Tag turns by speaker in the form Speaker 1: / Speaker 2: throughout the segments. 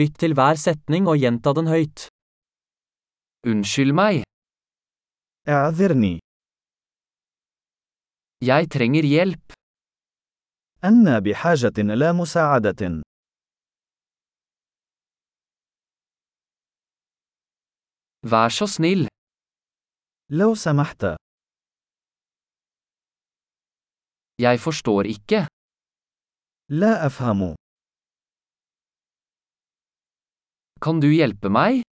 Speaker 1: Lytt til hver setning og gjenta den høyt. Unnskyld meg,
Speaker 2: اعذرني
Speaker 1: jeg trenger hjelp.
Speaker 2: أنا بحاجة إلى مساعدة
Speaker 1: Vær så snill,
Speaker 2: لو سمحت
Speaker 1: jeg forstår ikke.
Speaker 2: لا أفهم
Speaker 1: Kan du hjelpe meg?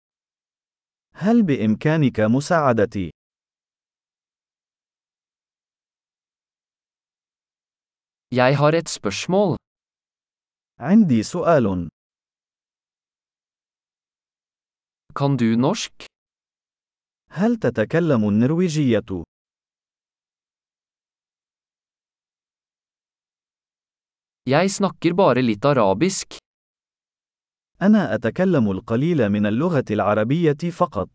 Speaker 2: هل بإمكانك مساعدتي
Speaker 1: Jeg har et spørsmål.
Speaker 2: عندي سؤال
Speaker 1: Kan du norsk?
Speaker 2: هل تتكلم النرويجية
Speaker 1: Jeg snakker bare litt arabisk.
Speaker 2: أنا أتكلم القليل من اللغة العربية فقط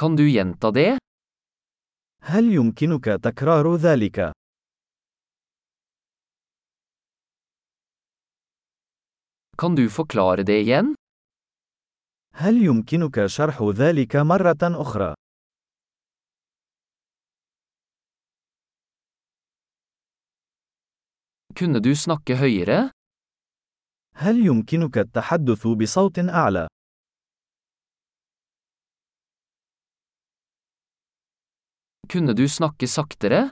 Speaker 1: Kan du gjenta det?
Speaker 2: هل يمكنك تكرار ذلك
Speaker 1: Kan du forklare det igjen?
Speaker 2: هل يمكنك شرح ذلك مرة أخرى
Speaker 1: Kunne du snakke høyere?
Speaker 2: هل يمكنك التحدث بصوت أعلى
Speaker 1: Kunne du snakke saktere?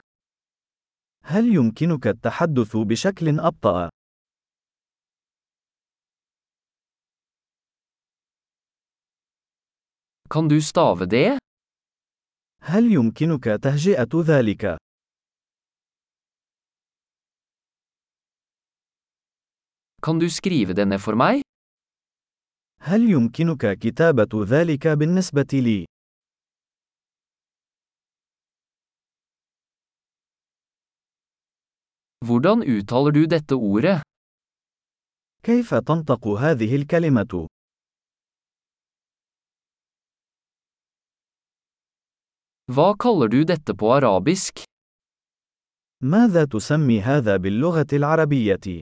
Speaker 2: هل يمكنك التحدث بشكل أبطأ
Speaker 1: Kan du stave det?
Speaker 2: هل يمكنك تهجئة ذلك؟
Speaker 1: Kan du skrive det ned for meg?
Speaker 2: هل يمكنك كتابة ذلك بالنسبة لي؟
Speaker 1: Hvordan uttaler du dette ordet?
Speaker 2: كيف تنطق هذه الكلمة؟
Speaker 1: Hva kaller du dette på arabisk?
Speaker 2: ماذا تسمي هذا باللغة العربية؟